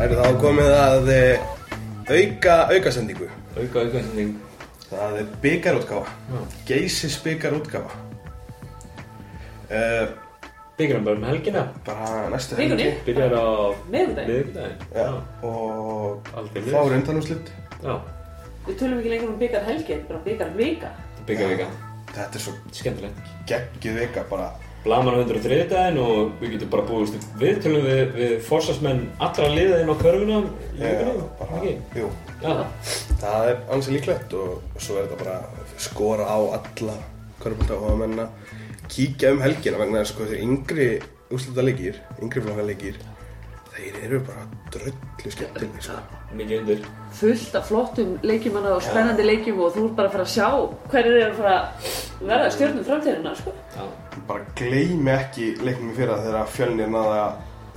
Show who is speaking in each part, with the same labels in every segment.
Speaker 1: komið að eh, auka aukasendingu.
Speaker 2: Auka aukvæmsending
Speaker 1: Það er byggarútgáfa. Geysis byggarútgáfa. Uh,
Speaker 2: Byggjum bara um helgina
Speaker 1: bara næstu
Speaker 3: Vikunni?
Speaker 2: Byrjar á
Speaker 3: Miðvikudaginn?
Speaker 2: miðvikudaginn
Speaker 1: Já, og
Speaker 2: Aldrei
Speaker 1: þá
Speaker 2: niður.
Speaker 1: er undanúslitt.
Speaker 2: Já,
Speaker 3: Við tölum ekki lengur um byggar helgi, þetta er bara byggar vika.
Speaker 2: byggja vika
Speaker 1: Þetta er svo
Speaker 2: Skemmtilegt
Speaker 1: geggjuð vika bara.
Speaker 2: Blaman á 103 daginn og við getum bara búist upp viðtölum við, við forsvarsmenn allra liða inn á körfuna í vikunni,
Speaker 1: bara,
Speaker 2: ekki?
Speaker 1: Jú,
Speaker 2: Já,
Speaker 1: það er ansi líklegt og svo er þetta bara skora á alla körpulta og að menna kíkja um helgina vegna þess sko þeir yngri úrslita leikir, yngri flokka leikir þeir eru bara dröllu skemmtileg sko.
Speaker 2: mikið undir
Speaker 3: Fullt af flottum leikjumanna og spennandi leikjum og þú ert bara að fara að sjá hverjir eru að fara að verða stjórnum framtíðina, sko.
Speaker 2: Já,
Speaker 1: bara gleymi ekki leiknum í fyrra þegar fjölnir náði að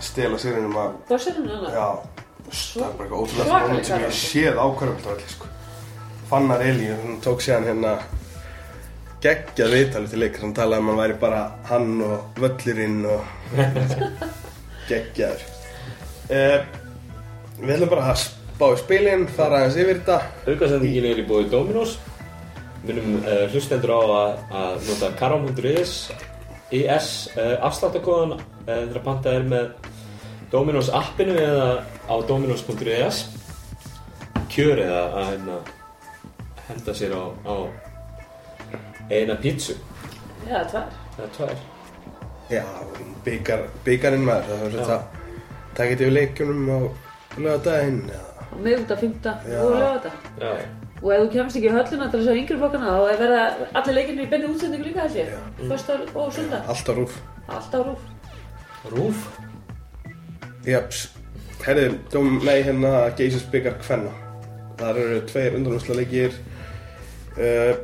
Speaker 1: stela sigrinum að
Speaker 3: Börsarinn er hana.
Speaker 1: Já, það er bara eitthvað ótrúlega
Speaker 3: Svakaleg
Speaker 1: frónið sem ég
Speaker 3: karate.
Speaker 1: hef séð á hverjumöldavalli sko. Fannar Eli, hún tók síðan hérna geggjað viðtalið til leik hann talaði um að hann væri bara hann og völlurinn og geggjaður uh, Við ætlum bara að spá í spilin, fara aðeins yfir þetta
Speaker 2: Aukasendingin er í bóði Dominos Minnum uh, hlustendur á að, að nota karam.is IS uh, afsláttakóðan uh, þegar að panta er með Dominos appinu eða á dominos.is Kjör eða að hérna, henda sér á, á eina pítsu
Speaker 3: Já, tvær.
Speaker 2: eða tvær
Speaker 1: Já, byggar, byggarinn maður það verður
Speaker 2: Já.
Speaker 1: þetta Það getið við leikjunum á lögadaginn eða
Speaker 3: Og miðvita, fymta
Speaker 1: Já.
Speaker 3: og lögata.
Speaker 2: Já,
Speaker 3: Og ef þú kemst ekki í hölluna til þess að yngri flokkana þá er verða allir leikirni í benni útsendingu líka held ég. Föstar og sundar.
Speaker 1: allt á rúf
Speaker 3: Allt á rúf.
Speaker 2: rúf
Speaker 1: Japs, herri, dóm, nei, hérna Geysis byggar hvenna Þar eru tveir undanúsla leikir uh,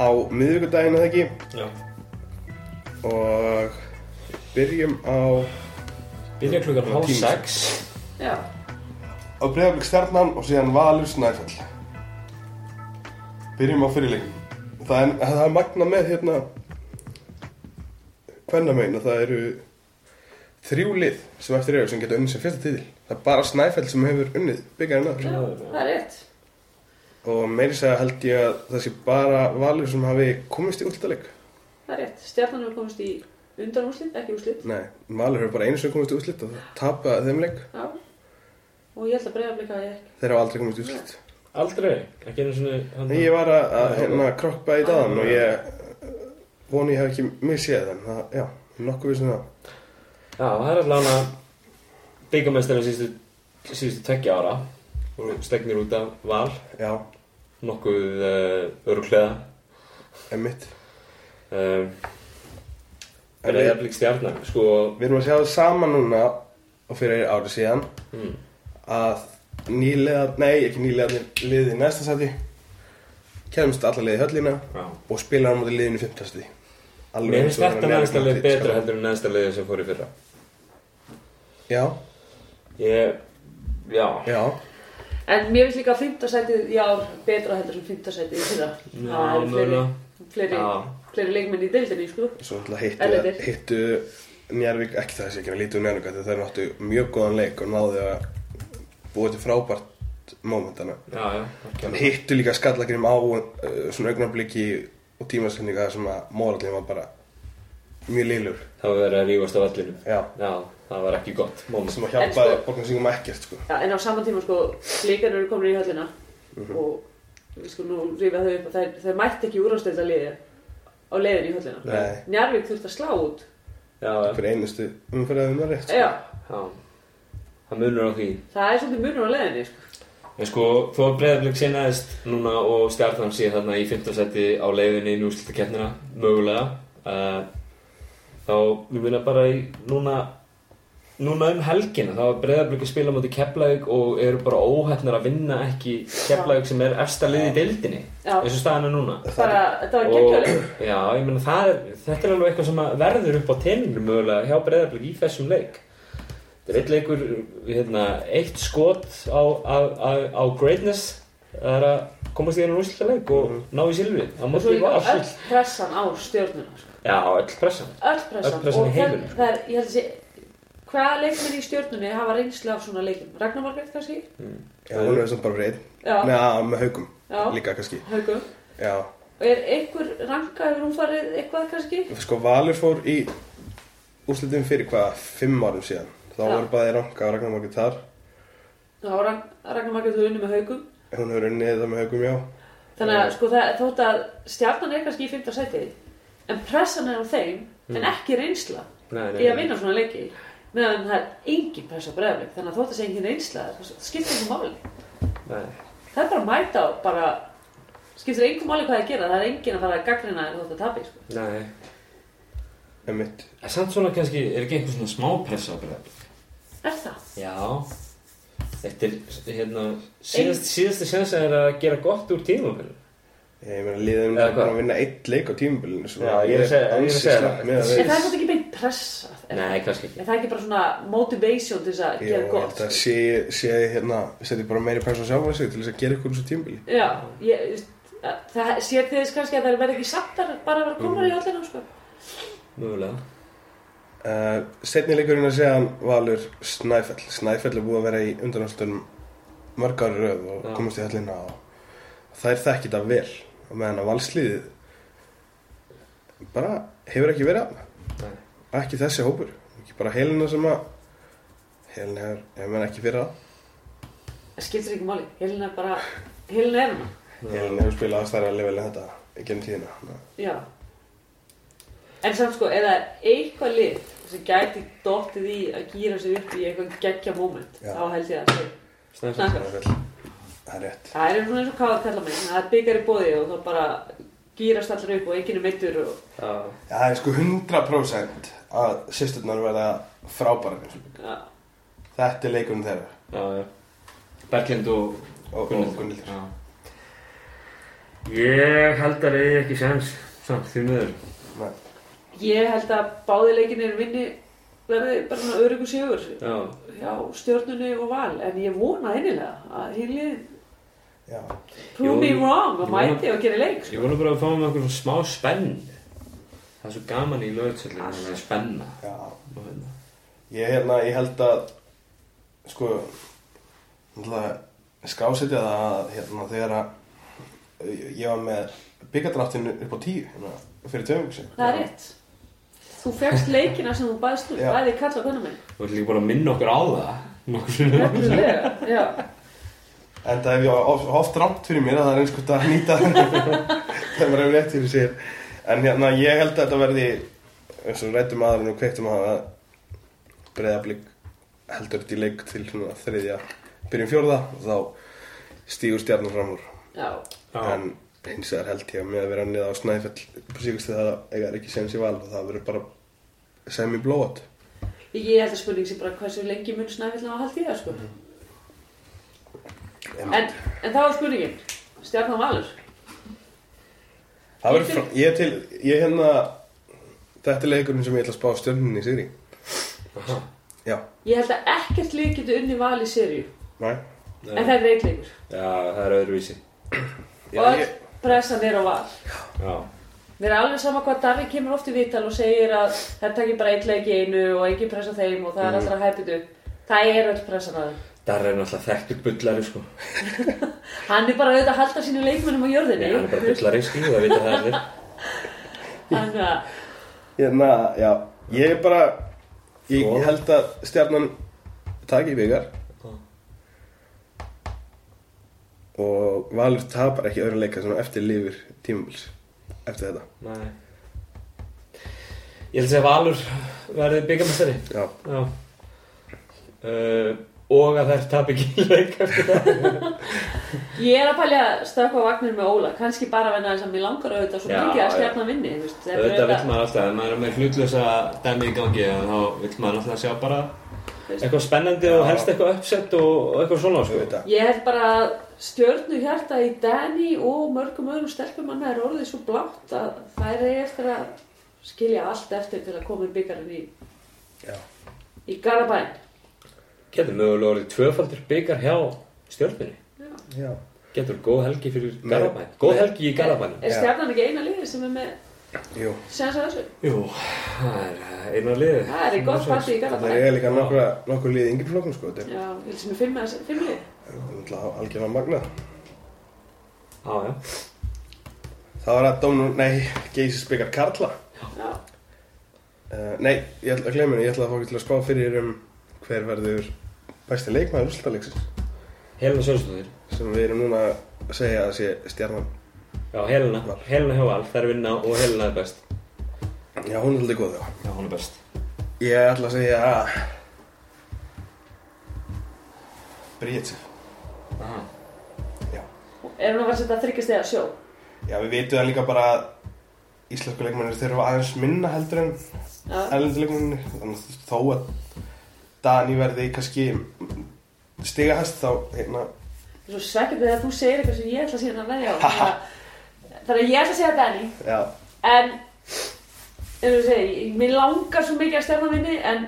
Speaker 1: Á miðvikudaginn eða ekki
Speaker 2: Já
Speaker 1: Og byrjum á
Speaker 2: Byrja klukkan hálf
Speaker 1: Tíu.
Speaker 2: sex
Speaker 3: Já.
Speaker 1: Á breyðarblik stjarnan og síðan Valur Snæfell Byrjum á fyrirleikin Það er, það er magna með hérna Hvenna meina, það eru Þrjú lið sem eftir eru sem geta unnið sem fyrsta tíðil Það er bara Snæfell sem hefur unnið byggarinn aður
Speaker 3: Já, það er rétt.
Speaker 1: og meiri segja held ég að það sé bara valur sem hafi komist í útlitaðleik
Speaker 3: Það er rétt. Stjarnan hefur komist í undanúslit, ekki úslit.
Speaker 1: nei, valur hefur bara einu sem komist í útlit og það tapaði þeim leik
Speaker 3: Já. Og ég held að breyða blika að ég
Speaker 1: þeir hafa aldrei komist í útlit
Speaker 2: Aldrei, ekki einu svona
Speaker 1: nei, ég var að, að hérna krokpa í dagann og ég eh, vona ég hef ekki misséð en það, já, nokkuð við sem það
Speaker 2: Já, það er allavega byggamestari síðustu, síðustu tveggja ára og stegnir út af val
Speaker 1: já,
Speaker 2: nokkuð uh, öruglega
Speaker 1: emitt
Speaker 2: um,
Speaker 1: En
Speaker 2: er
Speaker 1: við-
Speaker 2: eðablík stjarnar sko,
Speaker 1: við erum að sjá það sama núna og fyrir árið síðan
Speaker 2: mm,
Speaker 1: að nýlega, nei, ekki nýlega liðið í næsta sæti kemst alla liðið í höllina
Speaker 2: já
Speaker 1: og spila á móti liðinu 15. stí
Speaker 2: Mér finnst þetta neðstalegi betra heldur en neðstalegi sem fór í fyrra
Speaker 1: Já,
Speaker 2: Ég, já,
Speaker 1: já,
Speaker 3: En mér finnst líka að fymtasætið í ár betra heldur sem fymtasætið í fyrra.
Speaker 2: Já,
Speaker 3: Það eru fleiri,
Speaker 2: mögulega.
Speaker 3: fleiri,
Speaker 2: Já.
Speaker 3: fleiri leikmenn í deildinni, sko.
Speaker 1: svo náttúrulega hittu,
Speaker 3: Erlendir.
Speaker 1: hittu Njarvík, ekki það sé ekki að lítu um Njarvík þegar þeir náttu mjög góðan leik og náðu að búa til frábært mómentana
Speaker 2: já, já
Speaker 1: En
Speaker 2: algjörlega.
Speaker 1: hittu líka skallagrim á uh, svona augnabliki og tímasendinga þar sem að morallin var bara mjög lillur
Speaker 2: Það var verið að rífast á vallinu
Speaker 1: Já,
Speaker 2: Já, það var ekki gott moment.
Speaker 1: sem að
Speaker 3: En
Speaker 1: hjálpaði
Speaker 3: sko-
Speaker 1: borgansingum ekkert sko
Speaker 3: Já, en á saman tíma, sko, blíkar eru komin í höllina
Speaker 2: Mhm.
Speaker 3: og við sko nú rífa þau upp að þær, þær mætti ekki úrástelda liði á leiðin í höllina.
Speaker 1: Nei,
Speaker 3: Njarvík þurfti að slá út.
Speaker 2: Já, já,
Speaker 1: fyrir einustu umferðaðum var rétt sko.
Speaker 3: Já,
Speaker 2: já Það munur á því
Speaker 3: það er svolítið munur á leiðinni, sko.
Speaker 2: En sko, þó að Breiðablik sinnaðist núna og stjarnan sé þarna í 15 seti á leiðinni í núslitakeppnina, mögulega uh, þá, við minna bara í núna núna um helgina, þá er Breiðablik að spila mútið Keflavík og eru bara óhæfnar að vinna ekki Keflavík sem er efsta lið í deildinni,
Speaker 3: Já.
Speaker 2: eins og staðan er núna
Speaker 3: Bara, þetta var
Speaker 2: og,
Speaker 3: geggjörleik.
Speaker 2: já, ég meina það er, þetta er alveg eitthvað sem að verður upp á tenninu mögulega hjá breyðarblik í þessum leik þetta er eitt leikur hérna, eitt skot á, á, á, á greatness það er að komast í hérna úrsluta leik og ná í silfrið það
Speaker 3: Og svo
Speaker 2: mútið
Speaker 3: líka
Speaker 2: var
Speaker 3: öll
Speaker 2: allt
Speaker 3: pressan á stjörnuna, sko.
Speaker 2: já, öll pressan
Speaker 3: Öll pressan.
Speaker 2: Öll pressan í
Speaker 3: Og það-
Speaker 2: heiminum.
Speaker 3: Það er, ég held að sé, hvaða leikmenn í stjórnunni hafa reynslu af svona leikum? Ragnar Margreit kannski?
Speaker 2: Mm.
Speaker 1: Já, hún er samt bara fyrir einn.
Speaker 3: Já.
Speaker 1: Nei, að- með haugum
Speaker 3: Já.
Speaker 1: líka kannski.
Speaker 3: Haugum.
Speaker 1: Já.
Speaker 3: Og er einhver ranka, hefur hún farið eitthvað kannski?
Speaker 1: Sko, Valur fór í úrslitum fyrir hvað, fimm árum síðan. Þá
Speaker 3: Já.
Speaker 1: var bæði ranka og Ragnar Margrét þar.
Speaker 3: Já, Ragn- Ragnar Margreit hefur unni með haugum.
Speaker 1: Hún hefur unnið þetta með haugum, já.
Speaker 3: Þannig að sko það, þótt að stjarnan er kannski í 15 seti, en pressan er á þeim, en ekki reynsla
Speaker 2: Nei, Hmm. nei,
Speaker 3: í að
Speaker 2: nei.
Speaker 3: vinna svona leiki. Meðan það er engin pressa á bregðarleik, þannig að þótt að sé engin reynsla, það skiptir engum máli.
Speaker 2: Nei.
Speaker 3: Það er bara að mæta og bara, skiptir engum máli hvað það gera, það er engin að fara að gaggrina en þótt að tapi, sko.
Speaker 2: Nei.
Speaker 1: Einmitt.
Speaker 2: En samt svona kannski, er ekki einhver svona smá pressa á bregðarblik?
Speaker 3: Er það?
Speaker 2: Já. Þetta er, hérna, síðast, síðasti sens er að gera gott úr tímabilinu.
Speaker 1: Ég meina, liðin
Speaker 2: Eða
Speaker 1: er
Speaker 2: hvað?
Speaker 1: búin að vinna eitt leik á tímubilinu.
Speaker 2: Já, ég er að segja- ég er að segja
Speaker 1: með
Speaker 2: það.
Speaker 3: En
Speaker 1: að
Speaker 3: það er þetta ekki beint pressa? er það?
Speaker 2: Nei, kannski ekki.
Speaker 3: Er það ekki bara svona motivation til þess að
Speaker 1: Jó,
Speaker 3: gera gott? sko.
Speaker 1: þetta sé, sé hérna, setja bara meiri pæs á sjálfa sig til þess að gera ykkur úr þessu tímubili.
Speaker 3: Já, ég, þú veist, að- það sér til þess kannski að það verði ekki sattar bara að vera komar í allir sko.
Speaker 2: Mögulega.
Speaker 1: Uh, setni leikurinn að segja hann valur Snæfell. Snæfell er búið að vera í undanáttunum mörg ári röð og
Speaker 2: Já.
Speaker 1: komast í höllina og það er þekkið það vel og meðan að valsliðið bara hefur ekki verið aðna.
Speaker 2: Nei.
Speaker 1: Ekki þessi hópur. Ekki bara helina sem að helina hefur, hefur menn ekki verið að.
Speaker 3: Það skiptir ekki máli, helina bara, helina er hérna. hana.
Speaker 1: Helina hefur spilað aðstæðra level en þetta í gennum tíðina. Ná.
Speaker 3: Já. En samt sko, eða eitthvað lið sem gæti dottið í að gýra sig upp í eitthvað geggja moment,
Speaker 1: Já.
Speaker 3: þá held ég að það sé.
Speaker 2: Snæfell.
Speaker 3: Snakka.
Speaker 1: Snæfell. Það er rétt.
Speaker 3: Það er svona eins og hvað að tella mig, það er byggar í bóði og þá bara gýrast allir upp og enginn er meittur og...
Speaker 2: Já.
Speaker 1: Já, það er sko 100% að sýsturnar verða frábærar.
Speaker 3: Já.
Speaker 1: Þetta er leikurinn þeirra.
Speaker 2: Já, já. Berglind og
Speaker 1: Og- og Gunnhildur.
Speaker 2: Já. Ég held að það er ekki sens samt því miður.
Speaker 1: Nei.
Speaker 3: Ég held að báði leikinir vinni verði bara svona öryggur sigur
Speaker 2: Já.
Speaker 3: hjá stjórnunni og val en ég vona einilega að hinn lið
Speaker 1: Já,
Speaker 3: prove
Speaker 2: Jú,
Speaker 3: me wrong
Speaker 2: ég
Speaker 3: og
Speaker 2: vona-
Speaker 3: mæti og gera leik sko.
Speaker 2: Ég vona bara að við fáum einhver svona smá spenn. Það er svo gaman í lögutsöllinu að það er spenna.
Speaker 1: já.
Speaker 2: Nú hérna.
Speaker 1: Ég, hérna, ég held að, sko, náttúrulega skrásetja það að hérna, þegar að ég var með byggardráttinu upp á tíu hérna, fyrir tveimug sem.
Speaker 3: Það er rétt Þú fegst leikina sem þú bæðst um
Speaker 1: Já.
Speaker 3: bæði kalla og konum minn
Speaker 2: Þú ert líka bara að minna okkur á það. Nokkur sinnum.
Speaker 3: Nefnilega, já
Speaker 1: En það hef ég of- oft rámt fyrir mér að það er eins og að nýta þegar maður hefur rétt fyrir sér. En hérna, ég held að þetta verði, eins og rættum aðurinn og kveiktum að það breyðablík heldur þetta í leik til svona þriðja byrjum fjórða og þá stígur stjarnar fram úr.
Speaker 3: Já,
Speaker 2: Já.
Speaker 1: En hins vegar held ég að með að vera niða á snæfell på síkustu það eiga er ekki séns í val og það verður bara sem í blóat.
Speaker 3: ég held að spurning sem bara hversu lengi mun snæfill á að haldi það sko
Speaker 1: Mhm.
Speaker 3: En, en það var spurningin Stjarnan Valur
Speaker 1: Það verður frá, ég er til, ég hérna, þetta er leikurinn sem ég ætla að spá stjörninni í sigri.
Speaker 2: Aha.
Speaker 1: Já,
Speaker 3: Ég held að ekkert lið getur unni val í serju
Speaker 1: næ.
Speaker 2: Já,
Speaker 3: En það er reikleikur
Speaker 2: Já, það er öðruvísi.
Speaker 1: Já,
Speaker 3: Og
Speaker 1: ég,
Speaker 3: öll pressan er á val
Speaker 2: Já.
Speaker 3: Mér er alveg sama hvað Davík kemur oft í vital og segir að það takir bara eitt leik í einu og engin pressa þeim og það
Speaker 1: Mhm.
Speaker 3: er allra hæpitu. Það er öll pressan að þeim.
Speaker 2: Darra er náttúrulega þekktur bullari sko.
Speaker 3: Hann er bara auðvitað að halda sínu leikmennum á jörðinni.
Speaker 2: Nei, hann er bara bullari sko, það vita það allir.
Speaker 3: Þannig að,
Speaker 1: hérna, já, ég er bara, ég
Speaker 2: Svo?
Speaker 1: held að stjarnan taki byggar og Valur tapar ekki öðru leika sem eftir lifir tímabils eftir þetta.
Speaker 2: Nei. Ég held að segja Valur verði byggamestari.
Speaker 1: Já,
Speaker 2: Já. Uh, og að þær tap ekki leik eftir það.
Speaker 3: ég er að pælja að stökkva á vagnir með Óla. Kannski bara vegna þess að mér langar auðvitað svo
Speaker 2: Já,
Speaker 3: mikið að
Speaker 2: já.
Speaker 3: stjarnan vinni. þú veist. Það er
Speaker 2: Þetta vill
Speaker 3: auðvitað-
Speaker 2: maður alltaf, ef maður er með hlutlösa dæmi í gangi að þá vill maður alltaf sjá bara eitthvað spennandi og helst eitthvað uppsett og, og eitthvað svona
Speaker 1: þú
Speaker 2: sko.
Speaker 1: veit það.
Speaker 3: Ég held bara að stjörnu hjarta í Dani og mörgum öðrum stelpum hann er orðið svo blátt að það er eftir að skilja allt eftir til að koma í byggarinn í,
Speaker 1: Já,
Speaker 3: í Garabæn.
Speaker 2: Getur mögulega orðið tvöfaldur byggar hjá stjórnbyrni.
Speaker 1: já.
Speaker 2: Getur góð helgi fyrir
Speaker 1: Nei.
Speaker 2: Garabæn. Góð helgi í Garabænum.
Speaker 3: Er
Speaker 1: Já.
Speaker 3: stjarnan ekki eina liðið sem er með
Speaker 1: Jú,
Speaker 3: Sens að þessu.
Speaker 2: Jú, það er eh, eina liði.
Speaker 3: Það er í gott parti
Speaker 1: það
Speaker 3: í Garðabæ.
Speaker 1: er líka nokkra, nokkur lið yngri flokkum sko, þetta er
Speaker 3: Já, ég vil sem er fimm, eða- fimm lið.
Speaker 1: náttúrulega algjörlega magnað.
Speaker 2: Já, já.
Speaker 1: Það var að Dómnú, nei, Geysis byggar Karla.
Speaker 3: Já,
Speaker 1: Uh, nei, ég ætla að glemja henni, ég ætla að fá ekki til að spá fyrir um hver verður bæsti leikmaður úrslutaleiksins
Speaker 2: Helena Sjónsdóttir.
Speaker 1: sem við erum núna að segja að sé stjarnan.
Speaker 2: Já, Helena. Helena Hjóval, það er vinna og Helena er best.
Speaker 1: Já, hún er alltaf góð þá.
Speaker 2: Já, hún er best.
Speaker 1: Ég ætla að segja að... Bríðsif.
Speaker 2: Aha.
Speaker 1: Já.
Speaker 3: er hún að vera að setja þryggjast eða sjó?
Speaker 1: Já, við vitum það líka bara að íslensku leikmennir þurfa aðeins minna heldur en
Speaker 3: Já,
Speaker 1: erlendu leikmennir. Þannig að þó að Dani verði kannski stigahæst þá hérna...
Speaker 3: svo svekkjum við að þú segir eitthvað sem ég ætla síðan að veðja á. Þannig að- Þannig að ég ætla að segja Danny,
Speaker 1: Já.
Speaker 3: en, eins og þú segir, mér langar svo mikið að stjarnan minni, en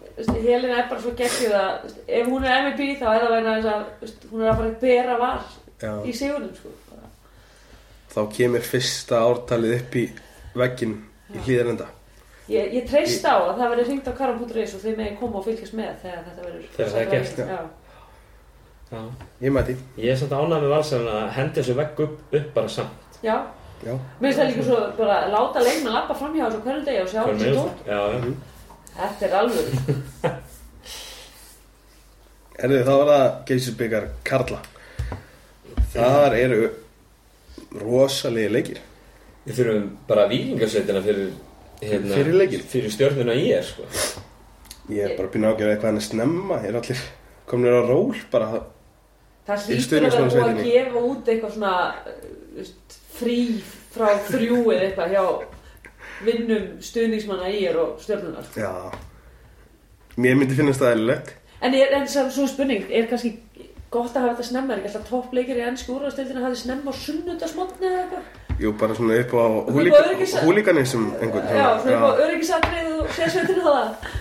Speaker 3: þú veist, Helena er bara svo geggjuð að, þú veist, ef hún er MVP þá er það vegna þess að þú veist, hún er að fara að bera var
Speaker 1: Já.
Speaker 3: í sigurinn, sko. Bara.
Speaker 1: Þá kemur fyrsta ártalið upp í vegginn í hlýðarenda.
Speaker 3: Ég, ég treyst á að það verður hringt á karam.is og þið megin koma og fylgjast með þegar þetta verður
Speaker 2: Þegar það er gert,
Speaker 1: já.
Speaker 3: já.
Speaker 2: Já.
Speaker 1: Ég mæti.
Speaker 2: Ég er samt ánægð með valsarinn að henda þessu vegg upp, upp bara samt.
Speaker 3: Já,
Speaker 1: Já.
Speaker 3: mér finnst það líka svo bara að láta leikmenn lappa framhjá þessu hverjum degi og sjá
Speaker 2: Hver
Speaker 3: þessu
Speaker 2: með
Speaker 3: dót.
Speaker 2: þessu? Já, já.
Speaker 3: Þetta er alveg.
Speaker 1: Herðu, það var það geysisbyggar Karla. Þar eru rosalegi leikir.
Speaker 2: Við þurfum bara vikingarsveitina fyrir, hérna,
Speaker 1: Fyrir leikinn.
Speaker 2: Fyrir stjórnuna í er, sko.
Speaker 1: Ég er bara að býna ágjörða eitthvað hann er snemma. Ég er allir komin að ról bara
Speaker 3: Það
Speaker 1: Í
Speaker 3: hlýtur að vera búið að
Speaker 1: stuðningsmannasveitinni.
Speaker 3: gefa út eitthvað svona uh, veist, frí frá þrjú eða eitthvað hjá vinnum stuðningsmanna í er og stjörnunar. sko.
Speaker 1: Já, mér myndi finnast það eðlilegt.
Speaker 3: En er en sem svona spurning, er kannski gott að hafa þetta snemma, er ekki alltaf toppleikir í ennsku úrvastildinu að hafa þetta snemma á sunnudagsmotni eða eitthvað?
Speaker 1: Jú, bara svona upp á
Speaker 3: Upp á
Speaker 1: húlíka,
Speaker 3: öryggis-
Speaker 1: húlíkanism einhvern
Speaker 3: Já, þau eru bara öryggisatrið og sérsveitir á það.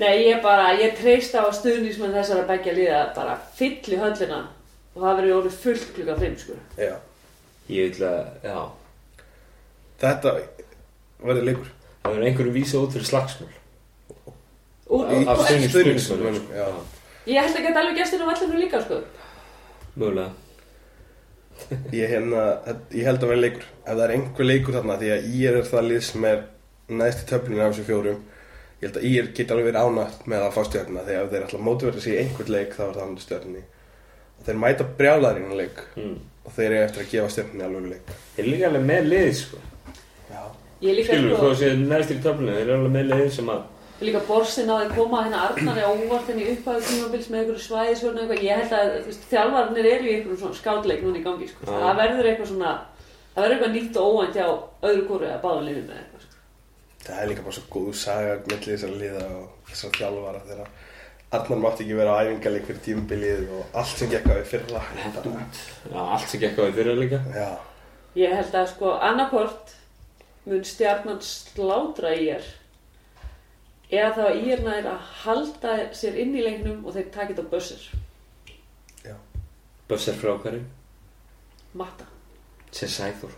Speaker 3: Nei, ég bara, ég treyst á að stuðnismenn þessara begja liða bara fylli höllina og það verður orðið fullt klukka 5, sko.
Speaker 1: Já.
Speaker 2: Ég vil að, já.
Speaker 1: Þetta verður leikur.
Speaker 2: Það verður einhverjum vísa út fyrir slagsmál.
Speaker 3: Úr,
Speaker 1: Í-
Speaker 2: Af stuðnings-
Speaker 1: stuðnings-
Speaker 2: stuðningsmönnum, sko.
Speaker 1: já.
Speaker 3: ég held ekki að alveg gestinu á vallinu líka, sko.
Speaker 2: Mögulega.
Speaker 1: Ég, hérna, ég held að verður leikur. Ef það er einhver leikur þarna, því að ég er það lið sem er næst í töflunni af þessu fjórum, ég held að ég get alveg verið ánægt með að fá stjörnuna, því að ef þeir alltaf mótiverða sig í einhvern leik, þá er það andur stjörnunni. Og þeir mæta brjálæðir í einu leik
Speaker 2: Mm.
Speaker 1: og þeir eru eftir að gefa stjörnunni alveg leik.
Speaker 2: Þeir eru líka alveg með liðið, sko.
Speaker 1: Já.
Speaker 3: Ég líka,
Speaker 2: Skilur, þó
Speaker 3: sko,
Speaker 2: að séu neðstir í töflunni, þeir eru alveg með liðið sem að...
Speaker 3: líka borsin að koma hérna Arnari á óvart henni upphæðu tímabils með einhverju svæðisvörn og eitthvað. Ég held að, þú veist, þjálfarnir eru í einhverjum svona skátleik núna í gangi, sko.
Speaker 2: Já.
Speaker 3: Það verður eitthvað svona, það verður eitthvað nýtt og óvænt hjá öðru kóru að báða liðum með eitthvað, sko.
Speaker 1: Það er líka bara svo góð saga mellir þessar liða og þessar þjálfara þegar Arnar mátti ekki vera á æfingarleik fyrir tímubilið og allt sem gekk á við fyrra bara,
Speaker 2: Já, allt sem gekk á því fyrir líka.
Speaker 1: Já,
Speaker 3: Ég held að sko annarkort mun stjarnan slátra í er eða þá að í er nær að halda sér inn í leiknum og þeir takit á bussir.
Speaker 1: já
Speaker 2: Bössar frá hverjum,
Speaker 3: Matta.
Speaker 2: sem sæður.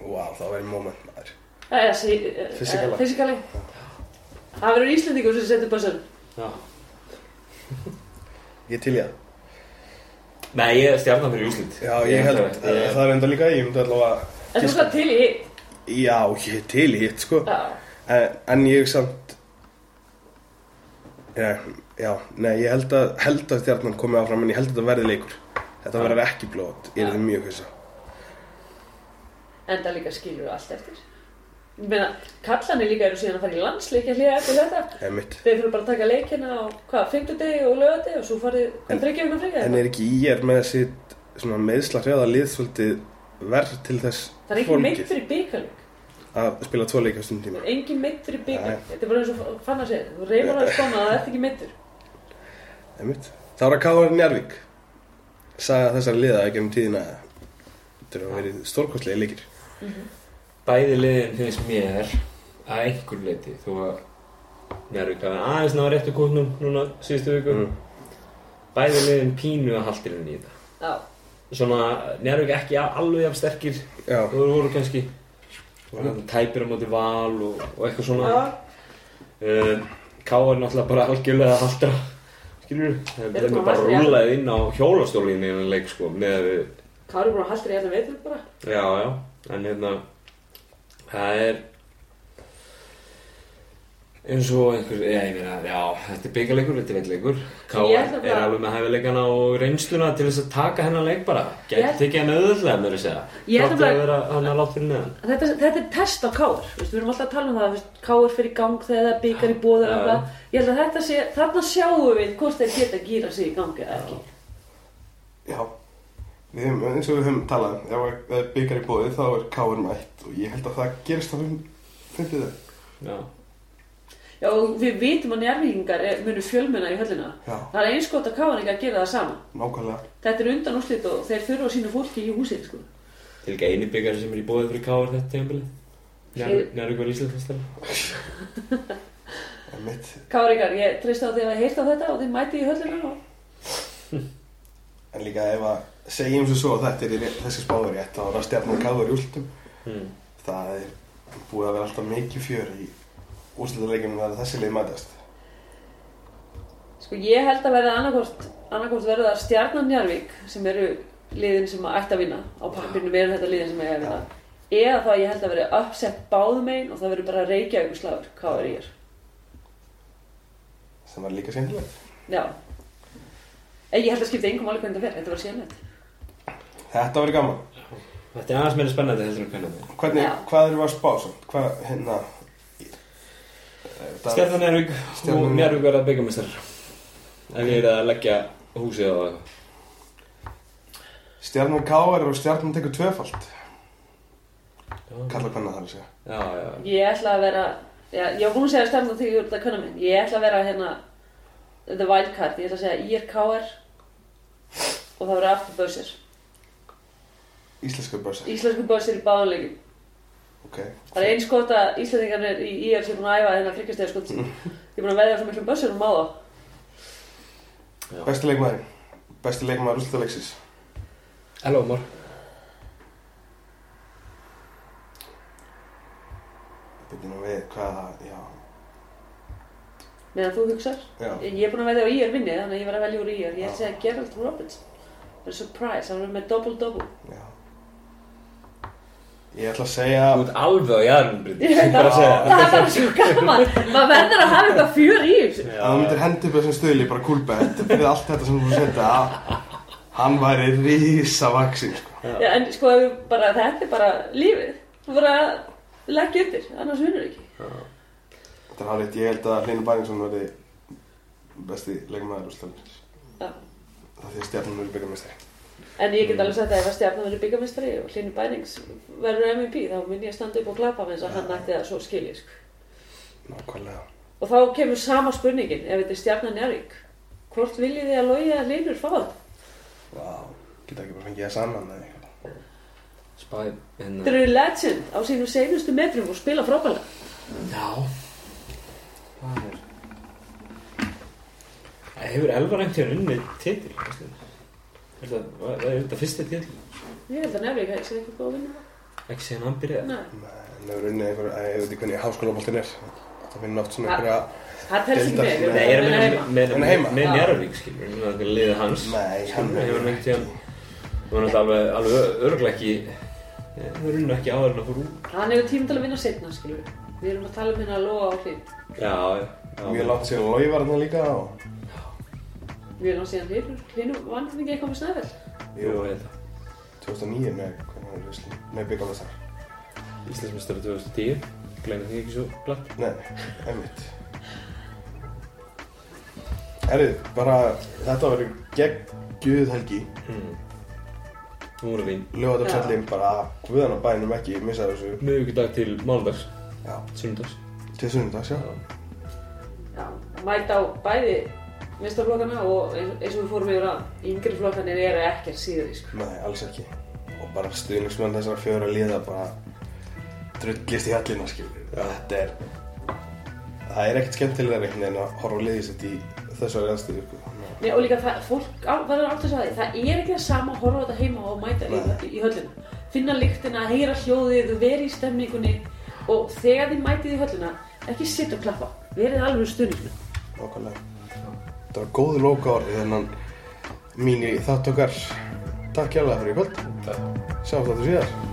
Speaker 1: Vá, það var í moment maður
Speaker 3: Eða, sí, eh,
Speaker 1: Fysikali.
Speaker 3: eh, fysikali. Það verður Íslendingur sem setur bussir.
Speaker 2: Já.
Speaker 1: Ég til ég það
Speaker 2: Nei, ég er stjarnan fyrir úslit.
Speaker 1: Já, ég held,
Speaker 2: Ég,
Speaker 1: það er enda líka, ég myndi allavega
Speaker 3: En þú
Speaker 1: giska.
Speaker 3: skal til í hitt.
Speaker 1: Já, ég er til í hitt sko
Speaker 3: Já.
Speaker 1: en, en ég samt Já, já, nei, ég held að, held að stjarnan komið áfram en ég held að þetta verði leikur Þetta verður ekki blóð, ég er þetta mjög hvisa
Speaker 3: En það líka skilur allt eftir. Ég meina, kallanir líka eru síðan að fara í landsleikja hlýða eftir þetta.
Speaker 1: Það er mitt
Speaker 3: Þeir fyrir bara að taka leikina á, hvað, fymtudegi og lögadegi og svo farið, hvað, þryggja vikna frí?
Speaker 1: En
Speaker 3: eða eitthvað?
Speaker 1: er ekki í er með sitt svona meðsla hrjáða lið svolítið verð til þess
Speaker 3: Það er ekki
Speaker 1: fólkið
Speaker 3: meittur í byggaleg.
Speaker 1: að spila tvo leika á stundum tíma?
Speaker 3: engin meittur í byggjum
Speaker 1: Nei.
Speaker 3: þetta er bara eins og fann að segja þú reymar að skona að það ert ekki meittur
Speaker 1: Einmitt. Það var að Káar Njarvík sagði að þessari liða ekki um tíðina þetta eru að verið stórkostlega leikir
Speaker 2: Bæði liðin finnst mér að einhver leiti, þó að Njárvík hafa aðeins náða réttu kútnum núna síðustu viku.
Speaker 1: Mm.
Speaker 2: Bæði liðin pínu að haldirinn í þetta.
Speaker 3: já,
Speaker 2: Svona, Njárvík ekki alveg af sterkir
Speaker 1: Já,
Speaker 2: og voru kannski og
Speaker 1: Mm.
Speaker 2: hann tæpir á móti val og, og eitthvað svona
Speaker 3: Já,
Speaker 2: uh, K er náttúrulega bara algjörlega að haldra skilur við
Speaker 3: Eru
Speaker 2: þeim er bara
Speaker 3: bara mættir í alla?
Speaker 2: rúlaðið inn á hjólastólinni í þennan leik sko með að við
Speaker 3: Kári er búin að halda þér í allan veitur bara.
Speaker 2: já já en hérna það er eins og einhver já ég meina já þetta er byggaleikur þetta er veitleikur K
Speaker 3: Ég ætla bara-
Speaker 2: er alveg með hæfileikana og reynsluna til þess að taka hennan leik bara
Speaker 3: Ég-
Speaker 2: getur tekið hann auðvöldlega með þess að
Speaker 3: Ég ætla
Speaker 2: þáttu að
Speaker 3: bara-
Speaker 2: vera hann að láta fyrir neðan
Speaker 3: Þetta, þetta er test á Káur, við erum alltaf að tala um það, veist, Káur fyrir gang þegar það byggar í bóða
Speaker 2: Já.
Speaker 3: eða eitthvað. Ég held að þetta sé, þarna sjáum við hvort þeir geta að gýra sig í gangi eða ekki.
Speaker 1: Já, við höfum, eins og við höfum talað um, ef það er byggar í bóði þá er káir mætt og ég held að það gerist á fundið þau.
Speaker 2: já
Speaker 3: Já, og við vitum að njárvíkingar munu fjölmenna í höllina.
Speaker 1: Já.
Speaker 3: Það er eins gott að káringar gera það sama.
Speaker 1: Nákvæmlega.
Speaker 3: Þetta er undan úrslit og þeir þurfa að sína fólki í húsið, sko.
Speaker 2: til ekki eini byggar sem er í bóði fyrir K er þetta tímabilið
Speaker 3: Ég-
Speaker 2: nær ykkur íslensmestari
Speaker 1: En mitt,
Speaker 3: Káringar, ég treyst á því að heyrta þetta og þeir mæti í höllina og...
Speaker 1: en líka ef að segjum sem svo að þetta er í ré- þessi spáður rétt þá er að stjarnan káir í úrslutum.
Speaker 2: hmm.
Speaker 1: Það er búið að vera alltaf mikið fjör í úrslutaleikinum að þessi leið mætast.
Speaker 3: Sko ég held að verða annarkort, annarkort verða það Stjarnan Njarvík sem eru liðin sem að ætti að vinna á pappirnum eru þetta liðin sem eiga að vinna eða þá ég held að verði uppsett báðum einn og það verður bara reykja ykkur slagur hvað er ég er
Speaker 1: Sem var líka sendilegt.
Speaker 3: Já En ég held að skipta engum máli hvernig það verð þetta verður sérlega
Speaker 1: Þetta verið gaman.
Speaker 2: Þetta er aðeins meira spennandi heldur en hvernig það
Speaker 1: Hvernig,
Speaker 3: Já.
Speaker 1: hvað erum við að spá samt? Hvað, hérna... eh,
Speaker 2: er. Stjarnan Njárvík
Speaker 1: Stjarnan
Speaker 2: og
Speaker 1: Njarðvík.
Speaker 2: Njárvík verða byggamestrar. En ég er að leggja húsið á það.
Speaker 1: Stjarnan káir og stjarnan tekur tvöfalt. Kalla hvernig það er að segja.
Speaker 2: Já, já.
Speaker 3: Ég ætla að vera já, Ég var búin að segja Stjarnan þegar ég voru þetta kannar minn Ég ætla að vera hérna The Wildcard, ég ætla að segja IRKR og það verður aftur börsir
Speaker 1: Íslensku börsa.
Speaker 3: Íslensku börsir í báðanleikum
Speaker 1: Ok.
Speaker 3: Það er eins gott að Íslandingarnir í IR sé búin að æfa þennan þryggjastega skot Ég er búin að veðja svo miklum um bössurum á þá
Speaker 1: Besti leikmaður. Besti leikmaður úrslutaleiksins.
Speaker 2: Hello, Mór.
Speaker 1: Byrjum nú við hvað, já.
Speaker 3: meðan þú hugsar
Speaker 1: Já.
Speaker 3: Ég er búin að veðja á IR vinni þannig að ég var að velja úr IR Ég
Speaker 1: Já.
Speaker 3: ætla að segja Gerald Roberts Það er surprise, hann er með double-double
Speaker 1: Já. Ég ætla að segja...
Speaker 2: Þú ert alveg á jæðrum, Bryndi.
Speaker 3: Ég
Speaker 2: Ég er bara að segja.
Speaker 3: Það er bara svo gaman Maður verður að hafa eitthvað fjör í þessu
Speaker 1: Já, það myndir
Speaker 2: Já,
Speaker 1: hendi upp þessum stöðli, bara kúlpa, þetta fyrir allt þetta sem þú setja að hann væri rísa vaksin, sko.
Speaker 3: Já, En sko, ef við bara, þetta er bara lífið Þú verður að leggja undir, annars vinnur ekki
Speaker 1: Þetta er hálfitt, ég held að Hlynur Bæringsson verði besti leikmaður úr stöðlins.
Speaker 3: Já.
Speaker 1: Það því að stjarnan verður byggamestari.
Speaker 3: En ég get alveg sagt að ef að Stjarnan verður byggamistari og Hlynur Bænings verður MVP þá mun ég að standa upp og klappa með þess að hann ætti það svo skiljið sko.
Speaker 1: Nákvæmlega.
Speaker 3: Og þá kemur sama spurningin, ef þetta er stjarnan Njarvík. Hvort viljið þið að logi að linur fá það?
Speaker 1: Vá, geta ekki bara fengið það saman eða eitthvað.
Speaker 2: spæði
Speaker 3: Þeir
Speaker 2: hérna.
Speaker 3: eru legend á sínum seinustu metrum og spila frábælega.
Speaker 2: Já. Það er... Það hefur elvar einhvern veginn unnið titil, veistu. Er þetta- var- er þetta fyrsta titil?
Speaker 3: Ég held að Njarvík hefði sér eitthvað góð að vinna það.
Speaker 2: Ekki segja hann byrjaði.
Speaker 3: Nei,
Speaker 1: Það er unnið einhver, að ég veit ekki hvernig háskólaboltin er. Það finnir oft svona
Speaker 3: Ha.
Speaker 1: einhverja...
Speaker 3: það telst ekki með.
Speaker 1: Deildar-
Speaker 2: Nei, ég er að meina-
Speaker 3: Nei, heima.
Speaker 2: meina
Speaker 1: Hann er heima.
Speaker 2: með, með
Speaker 3: Já.
Speaker 2: Njárvík, skilur. Ég meina, þetta er liðið hans.
Speaker 1: Nei, hann
Speaker 2: Ég var
Speaker 1: hefur
Speaker 2: nefnt í hann. Það var náttúrulega alveg, alveg örglega ekki, Eh, það var unna ekki áður en að fór út.
Speaker 3: Hann hefur tíma til að vinna setna, skilur við. Við erum að tala um hérna að loga á hlýtt.
Speaker 2: Já, já.
Speaker 1: Mjög langt síðan Lói var hann líka og...
Speaker 3: Við erum að síðan hlýnur, hlýnur vann ekki eitthvað með snæðvel.
Speaker 2: Jú, ég veit það.
Speaker 1: 2009 með, hvernig var það, með byggamestari.
Speaker 2: Íslandsmeistari 2010, gleyna því ekki svo glatt.
Speaker 1: Nei, einmitt Erið, bara þetta var geggjuð helgi
Speaker 2: Mm. Nú erum við
Speaker 1: Ljóðardalsallin bara guðan á bænum ekki missa þessu
Speaker 2: miðvíkudag til mánudags,
Speaker 1: Já,
Speaker 2: sunnudags.
Speaker 1: til sunnudags, já
Speaker 3: Já, að mæta á bæði mistarflokkana og eins eins og við fórum yfir að, yngri flokkanir eru ekkert síður, sko.
Speaker 1: Nei, alls ekki Og bara stuðningsmenn þessar fjóra liða bara drullist í hallina, skilur Þetta er Það er ekkert skemmtilega reynd en að horfa á liðið sitt í þessari aðstöðu sko. Þannig að-
Speaker 3: Nei, og líka það, fólk á, verður átt að segja því, það er ekki það sama að horfa á þetta heima og mæta í,
Speaker 1: Nei.
Speaker 3: í höllina. finna lyktina, heyra hljóðið, verið í stemningunni og þegar þið mætið í hölluna, ekki sitt og klappa, verið alveg stundinu.
Speaker 1: Nákvæmlega. Þetta var góðu lóka orðið þennan mín í þátt okkar. Takk hjálpa fyrir í kvöld.
Speaker 4: Takk.
Speaker 1: Sjáum þetta síðar.